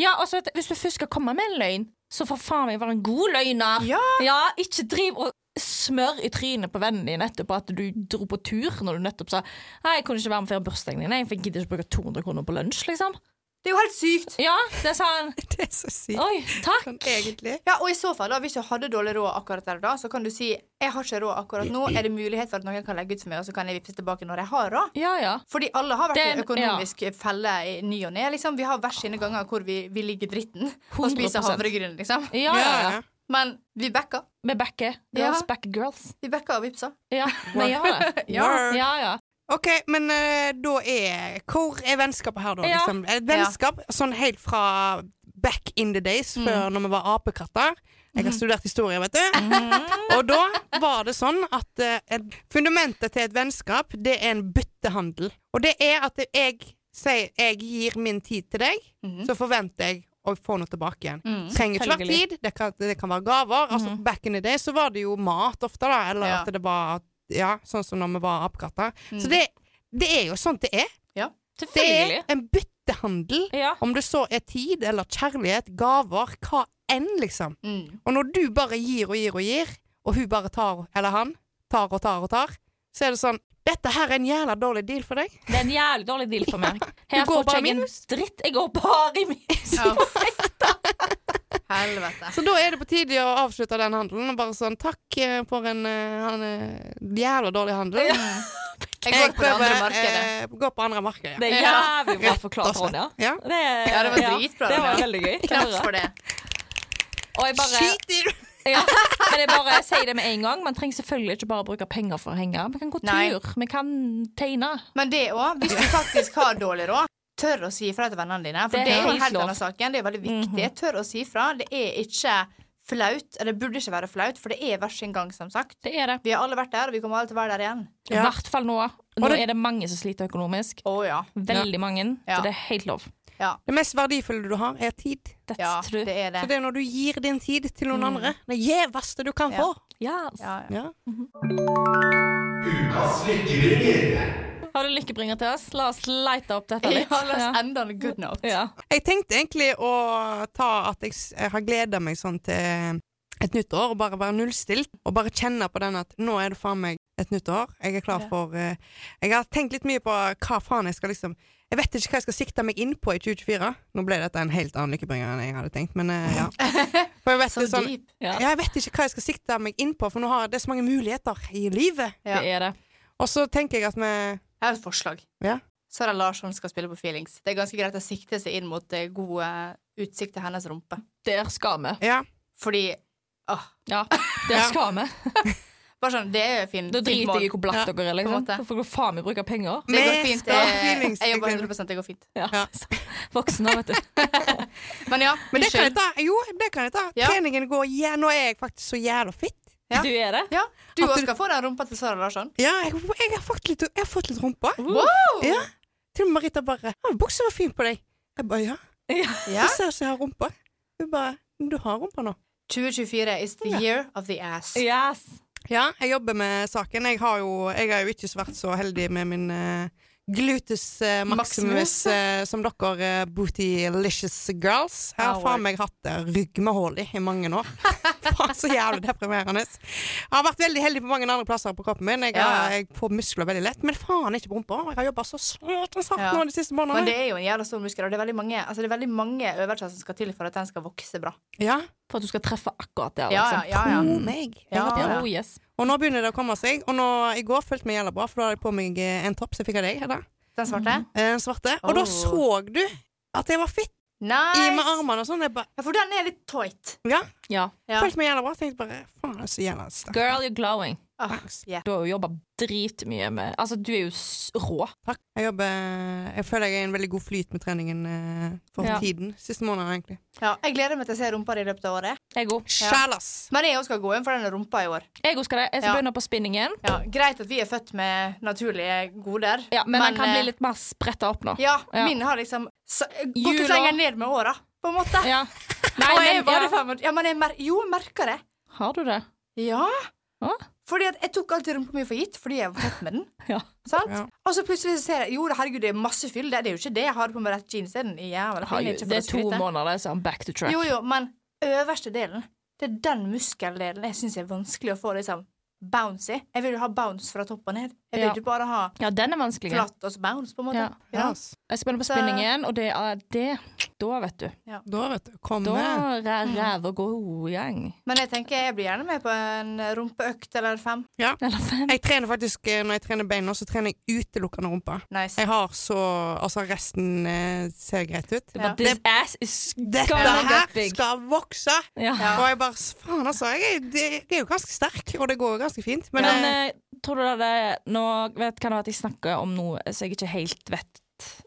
C: Ja, og så at hvis du først skal komme med en løgn, så for faen meg være en god løgner.
B: Ja.
C: ikke driv og smør i trynet på vennen din etterpå at du dro på tur når du nettopp sa Nei, jeg kunne ikke være med før bursdagen din, Nei, for jeg gidder ikke bruke 200 kroner på lunsj, liksom.
B: Det er jo helt sykt.
C: Ja, det sa han.
A: Det er så sykt.
C: Oi, takk.
A: Sånn egentlig.
B: Ja, og i så fall, da, Hvis du hadde dårlig råd akkurat der og da, så kan du si jeg har ikke råd akkurat nå. Er det mulighet for at noen kan legge ut for meg, og så kan jeg vippse tilbake når jeg har råd?
C: Ja, ja.
B: Fordi alle har vært i en
C: Den-
B: økonomisk felle i ny og ne. Liksom. Vi har hver sine ganger hvor vi, vi ligger i dritten og spiser
C: 100%.
B: havregryn. Liksom.
C: Ja, ja, ja.
B: Men vi backer.
C: Med backer.
B: Ja.
C: Girls backer girls.
B: Vi backer og vippser.
C: Ja, vi gjør det.
A: Ja.
C: Ja, ja.
A: OK, men eh, da er Hvor er vennskapet her, da?
C: Ja. Mm.
A: Liksom? Et vennskap sånn helt fra back in the days, før når vi var apekatter. Jeg har studert historie, vet du.
C: Mm.
A: Og da var det sånn at eh, et, fundamentet til et vennskap, det er en byttehandel. Og det er at jeg sier jeg gir min tid til deg, så forventer jeg å få noe tilbake igjen. Trenger ikke være
C: Mm. Selvfølgelig.
A: tid, det kan, det kan være gaver. Altså, back in the day så var det jo mat ofte, da. Eller
B: Ja.
A: at det var ja, sånn som når vi var apekatter. Så det, det er jo sånn det er. Det
C: Selvfølgelig.
A: er en byttehandel byttehandel.
C: Ja.
A: Om det så er tid eller kjærlighet, gaver, hva enn, liksom.
B: Mm.
A: Og når du bare gir og gir og gir, og hun bare tar, eller han, tar og tar og tar, så er det sånn Dette her er en jævla dårlig deal for deg.
C: Det er en jævlig dårlig deal for meg. Her
A: går
C: får ikke
A: bare
C: jeg en dritt. Jeg går bare i minus.
B: Ja. Helvete.
A: Så da er det på tide å avslutte den handelen og bare sånn Takk eh, for en, eh, han, eh, jævla dårlig handel.
B: Jeg går på det andre
A: prøver,
B: markedet.
A: eh, går på andre markedet.
C: Det
A: Ja.
C: er
B: Ja.
C: jævlig bra forklart, Ronja.
A: Ja.
C: Det, er-
B: Ja, det var dritbra,
C: Det var
B: Ronja.
C: veldig gøy.
B: Klaps for det.
C: Og jeg bare,
A: Skit i det!
C: ja, men jeg bare sier det med en gang. Man trenger selvfølgelig ikke bare bruke penger for å henge. Vi kan gå
B: Nei.
C: tur, vi kan tegne.
B: Men det òg, hvis du faktisk har dårlig råd, tør å si ifra til vennene dine. For
C: Det er
B: det, er jo en
C: helt
B: helt
C: lov. Mhm.
B: annen sak igjen. Det er veldig viktig. Tør å si ifra. Det er ikke flaut. Eller det burde ikke være flaut, for det er hver sin gang, som sagt.
C: Det er det.
B: Vi har alle vært der, og vi kommer alle til å være der igjen.
C: I
A: Ja.
C: hvert fall nå. Nå
A: Og det-
C: er det mange som sliter økonomisk.
B: Å ja.
C: Veldig mange.
B: Ja.
C: Så det er helt lov.
B: Ja.
A: Det mest verdifulle du har, er tid.
C: That's
B: ja
C: true.
B: det er det.
A: Så det er når du gir din tid til noen andre. Det gjeveste du kan
B: Ja.
A: få.
C: Yes.
B: Ja, ja.
A: Ja.
D: Ukas lykkebringer.
C: Har du lykkebringer til oss? La oss lighte opp dette litt.
B: Ja, la oss ende on a good note.
C: Ja.
A: Jeg tenkte egentlig å ta at jeg, s- jeg har gleda meg sånn til et nytt år, og bare være nullstilt. Og bare kjenne på den at nå er det faen meg et nytt år. Jeg er klar
B: Ja.
A: for eh, Jeg har tenkt litt mye på hva faen jeg skal liksom Jeg vet ikke hva jeg skal sikte meg inn på i 2024. Nå ble dette en helt annen lykkebringer enn jeg hadde tenkt, men eh, ja. For jeg vet,
B: Så
A: det er sånn,
B: deep.
C: Ja.
A: ja, jeg vet ikke hva jeg skal sikte meg inn på, for nå har jeg- det er så mange muligheter i livet.
B: Ja.
C: Det er det.
A: Og så tenker jeg at vi
B: Jeg har et forslag.
A: Ja.
B: Sara Larsson skal spille på Feelings. Det er ganske greit å sikte seg inn mot eh, god eh, utsikt til hennes rumpe.
C: Der skal vi.
A: Ja.
B: Fordi åh,
C: Ja, der
A: Ja.
C: skal vi.
B: Bare sånn, det er fin,
C: Da
B: fint
C: driter jeg i
B: mål.
C: hvor blatt
A: Ja,
C: dere er.
B: på
C: Liksom.
B: en måte.
C: Da får dere faen meg bruke penger.
B: Det går
A: Vi
B: fint.
A: skal
B: eh,
A: Feelings.
B: Jeg jobber 100 det går fint.
C: Ja.
A: Ja.
C: Voksne, vet du.
B: Men ja,
A: Men det kan jeg
B: unnskyld.
A: ta. Jo, det kan jeg ta.
B: Ja.
A: Treningen går jæ- Nå er jeg faktisk så jævla fit.
B: Ja.
C: Du er det.
B: Ja, du
A: At
B: òg
A: du-
B: skal få den rumpa til Sara Larsson.
A: Ja, jeg, jeg, har fått litt, jeg har fått litt rumpa.
B: Wow!
A: Ja. Til og med Marita bare ja, 'Buksa var fin på deg.' Jeg bare 'Ja,
B: Ja.
A: du ser ut som jeg har rumpa'. Hun bare 'Du har rumpa nå'.
B: 2024 is the
A: Ja.
B: year of the ass.
C: Yes.
A: Ja, jeg jobber med saken. Jeg har jo, jeg har jo ikke vært så heldig med min eh, gluteus eh, maximus
B: Maximus.
A: eh, som dere eh, bootylicious girls. Jeg har
B: Our.
A: faen meg hatt eh, rygg med hull i i mange år. faen, så jævlig deprimerende. Jeg har vært veldig heldig på mange andre plasser på kroppen min. Jeg,
B: Ja.
A: har, jeg får muskler veldig lett, men faen ikke på rumpa. Jeg har jobba så søtt og satt
B: Ja.
A: nå de siste
B: Men
A: månedene.
B: det er jo en jævla stor muskel, og det er veldig mange, altså det er veldig mange øvelser som skal til for at den skal vokse bra.
A: Ja,
C: For at du skal treffe akkurat der.
B: Ja, ja,
C: Liksom.
B: ja, ja.
A: oh, meg. Jeg
B: Ja.
A: har
C: Ja,
A: prøvd.
C: oh, yes.
A: Og nå begynner det å komme seg. Og nå, i går følte jeg meg jævla bra, for da hadde jeg på meg eh, en topp som jeg fikk av deg. Hedda.
B: Den svarte?
A: Eh, svarte. Og da
B: Oh.
A: så du at jeg var fit i med
B: Nice!
A: armene og sånn. Jeg bare,
B: Ja, for den er litt tight.
A: ja,
C: Ja.
B: Ja.
A: følte meg jævla bra. Tenkte bare faen, jeg er så jævla sterk.
C: Girl, you're glowing.
B: Ah,
A: Thanks.
B: yeah.
C: Du har jo jobba dritmye med Altså, du er jo s rå.
A: Takk. Jeg jobber eh, Jeg føler jeg er i en veldig god flyt med treningen eh, for
C: Ja.
A: tiden. Siste måneden, egentlig.
B: ja, jeg gleder meg til å se rumpa di i løpet av året.
C: Jeg òg.
A: Sjalas!
B: Men jeg òg skal gå inn for den rumpa i år.
C: Jeg òg skal det. Jeg skal
B: Ja.
C: begynne på spinningen.
B: Ja, greit at vi er født med naturlige goder,
C: Ja, men, den kan
B: eh,
C: bli litt mer spretta opp nå.
B: Ja,
C: Ja.
B: min har liksom s- gått
C: Jula.
B: litt lenger ned med åra, på en måte.
C: Ja. Nei,
B: Og jeg
C: men,
B: var det
C: ja.
B: fem år- Ja, men jeg mer jo, jeg merker det.
C: Har du det?
B: Ja.
C: Hå?
B: Fordi at jeg tok alltid rumpa mi for gitt fordi jeg var født med den.
C: Ja.
B: Sant?
A: Ja.
B: Og så plutselig så ser jeg Jo, herregud, det er masse fyll. Det det er jo ikke det. Jeg har på meg rett jeans. Det er den jævla
C: Har
B: fin.
C: jo,
B: ikke for
C: det
B: å
C: er to
B: skryte.
C: måneder, så I'm back to track.
B: Jo, jo, men øverste delen, det er den muskeldelen jeg syns er vanskelig å få liksom bounce i. Jeg vil jo ha bounce fra topp og ned. Jeg vil
C: Ja.
B: ikke bare ha
C: Ja, den er vanskelig.
B: flatt og så bounce, på en måte.
C: Ja.
B: Ja.
A: Yes.
C: Jeg skal begynne på
B: Så-
C: spinningen, og det er det. Da, vet du.
A: Da, vet du. Kom eh,
C: Da
A: med.
C: er ræva god gjeng.
B: Men jeg tenker jeg blir gjerne med på en rumpeøkt eller fem.
C: Eller fem.
A: Jeg trener faktisk eh, Når jeg trener bein nå, så trener jeg utelukkende rumpa.
B: Nice.
A: Jeg har så Altså, resten eh, ser greit ut.
B: Ja.
C: This ass is
A: Dette
C: gonna get
A: her
C: big.
A: skal vokse!
C: Ja.
B: Ja.
A: Og jeg bare Faen, altså. Jeg er, det- jeg er jo ganske sterk, og det går jo ganske fint. Men,
C: Men,
A: eh,
C: eh, tror du det er det- Nå vet, kan det være at jeg snakker om noe som jeg ikke helt vet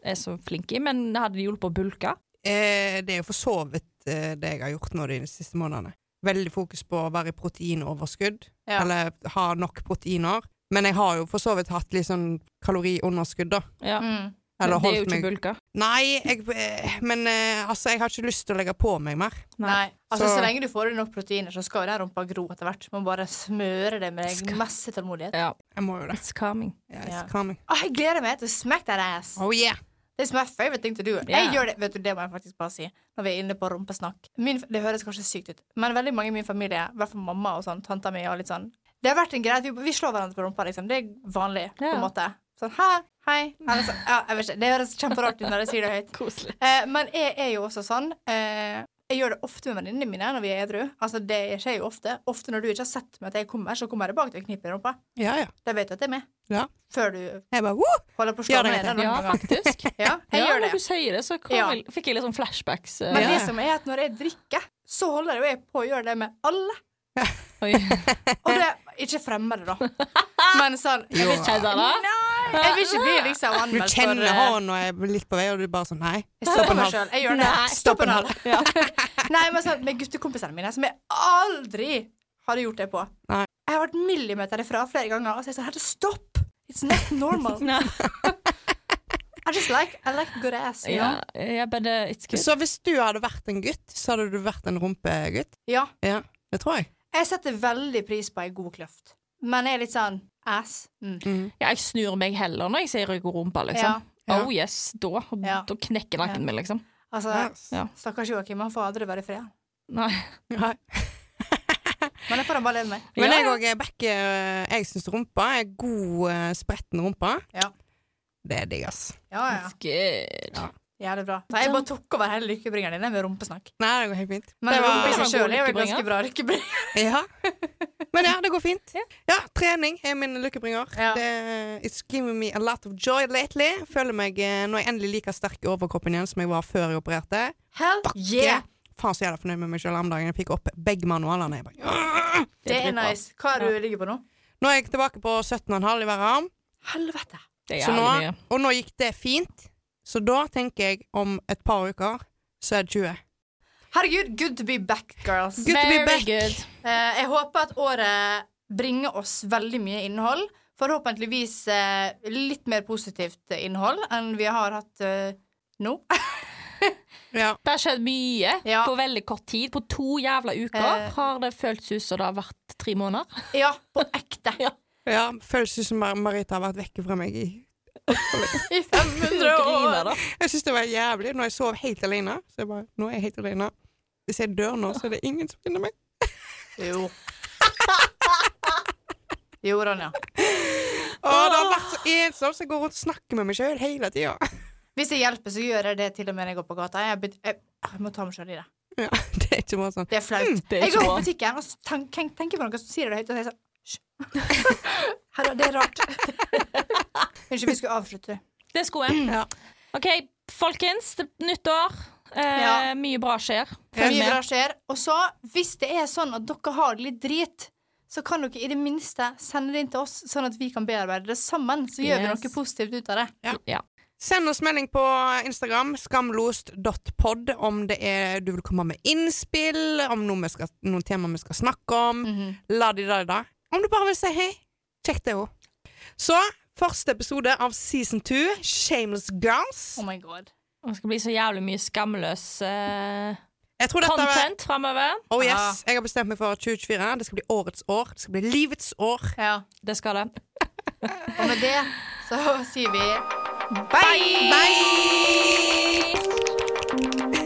C: er så flink i, men hadde det hjulpet å bulke?
A: eh, det er jo for så vidt eh, det jeg har gjort nå de siste månedene. Veldig fokus på å være i proteinoverskudd,
B: Ja.
A: eller ha nok proteiner. Men jeg har jo for så vidt hatt litt sånn kaloriunderskudd, da.
C: Ja.
B: Mm.
A: Eller
C: Men det er jo
A: holdt meg
C: ikke bulke.
A: Nei, jeg, eh, men eh, altså, jeg har ikke lyst til å legge på meg mer.
B: Nei. Altså,
A: Så-
B: så... lenge du får i nok proteiner, så skal jo den rumpa gro etter hvert. Man bare smøre det med
C: Skal-
B: masse tålmodighet.
C: Ja.
A: Jeg må jo det.
C: It's coming.
A: Ja,
B: Ja.
A: it's coming.
B: Å, jeg gleder meg til å smack that ass.
A: Oh yeah!
B: It's my favorite thing to do.
C: Yeah.
B: Jeg gjør det, vet du, det må jeg faktisk bare si når vi er inne på rumpesnakk. Min, det høres kanskje sykt ut, men veldig mange i min familie, i hvert fall mamma og sånn, tanta mi og litt sånn Det har vært en greie at vi, vi slår hverandre på rumpa, liksom. Det er vanlig, på
C: Ja.
B: en måte. Sånn hæ, hei. Eller så, ja, jeg vet ikke. Det høres kjemperart ut når jeg sier det høyt.
C: Koselig.
B: Eh, men jeg er jo også sånn eh, Jeg gjør det ofte med venninnene mine når vi er edru. Altså, det skjer jo ofte. Ofte når du ikke har sett meg at jeg kommer, så kommer jeg tilbake til å knipe i rumpa.
A: Ja, ja.
B: Da vet du at jeg er med.
A: Ja.
B: Før du
A: Jeg bare Woo!
B: holder på å slå
A: Gjør det,
B: meg ned.
A: Grete.
B: en
C: Ja,
B: annen gang.
C: faktisk.
B: Ja, jeg
C: ja,
B: gjør det.
C: Når du sier det, så kom,
B: Ja.
C: jeg- fikk jeg litt sånn flashbacks. eh,
B: Men
A: Ja.
B: det som er at når jeg drikker, så holder jo jeg på å gjøre det med alle.
C: Oi.
B: Og det ikke fremmede, da. Men sånn Jeg vil ikke,
C: Kjedda, da?
B: nei, jeg vil ikke bli liksom
A: Du
B: anmeldt for
A: kjenner
B: eh,
A: hånden og jeg er litt på vei, og du bare sånn Nei.
B: Jeg stopper meg sjøl. Jeg gjør det.
C: Nei.
B: Stopp en hal.
C: Ja.
B: Nei, men sånn med guttekompisene mine, som jeg aldri hadde gjort det på.
A: Nei.
B: Jeg har vært millimeter ifra flere ganger, og så er jeg sånn Herre, stopp! It's not normal.
C: Nei.
B: I just like I like good ass. you
C: Ja,
B: know?
C: yeah, but uh, it's good.
A: Så hvis du hadde vært en gutt, så hadde du vært en rumpegutt?
B: Ja.
A: Ja, det tror jeg.
B: Jeg setter veldig pris på ei god kløft, men jeg er litt sånn ass. Mm.
A: Mm.
C: Ja, jeg snur meg heller når jeg sier rygg og rumpa, liksom.
A: Ja.
C: Oh yes, da,
B: Ja.
C: da knekker nakken
B: Ja.
C: min, liksom.
B: Altså,
A: Yes.
C: Ja.
B: Stakkars Joakim, han får aldri være i fred.
C: Nei.
A: Nei.
B: Men det får han bare leve med.
A: Men
C: Ja.
A: jeg òg er back eh, Jeg syns rumpa er god, eh, spretten rumpa.
B: Ja.
A: Det er digg, ass.
B: Ja, ja.
C: It's good.
B: Jævlig bra. Så jeg bare tok over hele lykkebringeren din med rumpesnakk.
A: Nei, det går helt fint.
B: Men
A: det
B: rumpe i
C: det
B: seg
C: var
B: sjøl er
C: god
B: jo en
C: lykkebringer.
B: ganske bra lykkebringer.
A: ja. Men ja, det går fint.
C: Ja.
A: Ja, trening er min lykkebringer.
B: Ja.
A: Det- It's giving me a lot of joy lately. Føler meg, eh, når jeg endelig like sterk i overkroppen igjen som jeg var før jeg opererte
B: Hell yeah!
A: Faen så jævla fornøyd med meg sjøl om dagen. Jeg fikk opp begge manualene. Jeg bare, «Åh!»
B: Det er
C: dritbra.
B: nice. Hva er det du ligger på nå?
A: Nå er jeg tilbake på 17,5 i hver arm.
B: Helvete.
C: Det er
A: Så
C: jævlig mye.
A: nå, og nå gikk det fint. Så da tenker jeg om et par uker så er det 20.
B: Herregud, good to be back, girls.
A: Good to be
C: Very
A: back.
C: good.
B: Eh, jeg håper at året bringer oss veldig mye innhold. Forhåpentligvis eh, litt mer positivt innhold enn vi har hatt eh, nå.
A: Ja.
C: Det har skjedd mye
B: Ja.
C: på veldig kort tid. På to jævla uker
B: Eh.
C: har det føltes ut som det har vært tre måneder.
B: ja, på ekte.
A: ja føles ut som Mar- Marita har vært vekke fra meg i
B: I 500
C: Griner,
B: år.
C: da.
A: Jeg syns det var jævlig når jeg sov helt alene. Så jeg bare, nå er jeg helt alene. Hvis jeg dør nå, så er det ingen som finner meg.
B: Jo. Jo, Ronja.
A: Å, det har vært så ensomt, så jeg går rundt og snakker med meg sjøl hele tida.
B: Hvis jeg hjelper, så gjør jeg det til og med når jeg går på gata. Jeg, bet- jeg, jeg må ta meg selv i det.
A: Ja, det er ikke bare sånn.
B: Det er flaut.
C: Mm, det er
B: jeg
C: ikke
B: går på
C: bra.
B: butikken og så tenk- tenk- tenker på noe som sier det høyt, og så sier jeg sånn «Hysj». Herre, det er rart. Unnskyld, vi skulle avslutte.
C: Det skulle jeg.
A: Ja.
C: OK, folkens. det- Nytt år. Eh,
B: Ja.
C: Mye bra skjer. Følg
B: Mye
C: med.
B: bra skjer. Og så, hvis det er sånn at dere har det litt drit, så kan dere i det minste sende det inn til oss, sånn at vi kan bearbeide det sammen. Så gjør vi
C: Yes.
B: noe positivt ut av det.
C: Ja.
A: Send oss melding på Instagram, skamlost.pod, om det er du vil komme med innspill, om noe vi skal, noen tema vi skal snakke om.
C: Mhm.
A: La de da, de da. Om du bare vil si hei. Kjekk det òg. Så første episode av season two, Shameless Girls.
B: Oh my god.
C: Det skal bli så jævlig mye skamløs eh,
A: Jeg tror dette var
C: content framover.
A: Oh yes, jeg har bestemt meg for 2024. Det skal bli årets år. Det skal bli livets år.
B: Ja.
C: Det skal det.
B: Og med det så sier vi
A: Bye!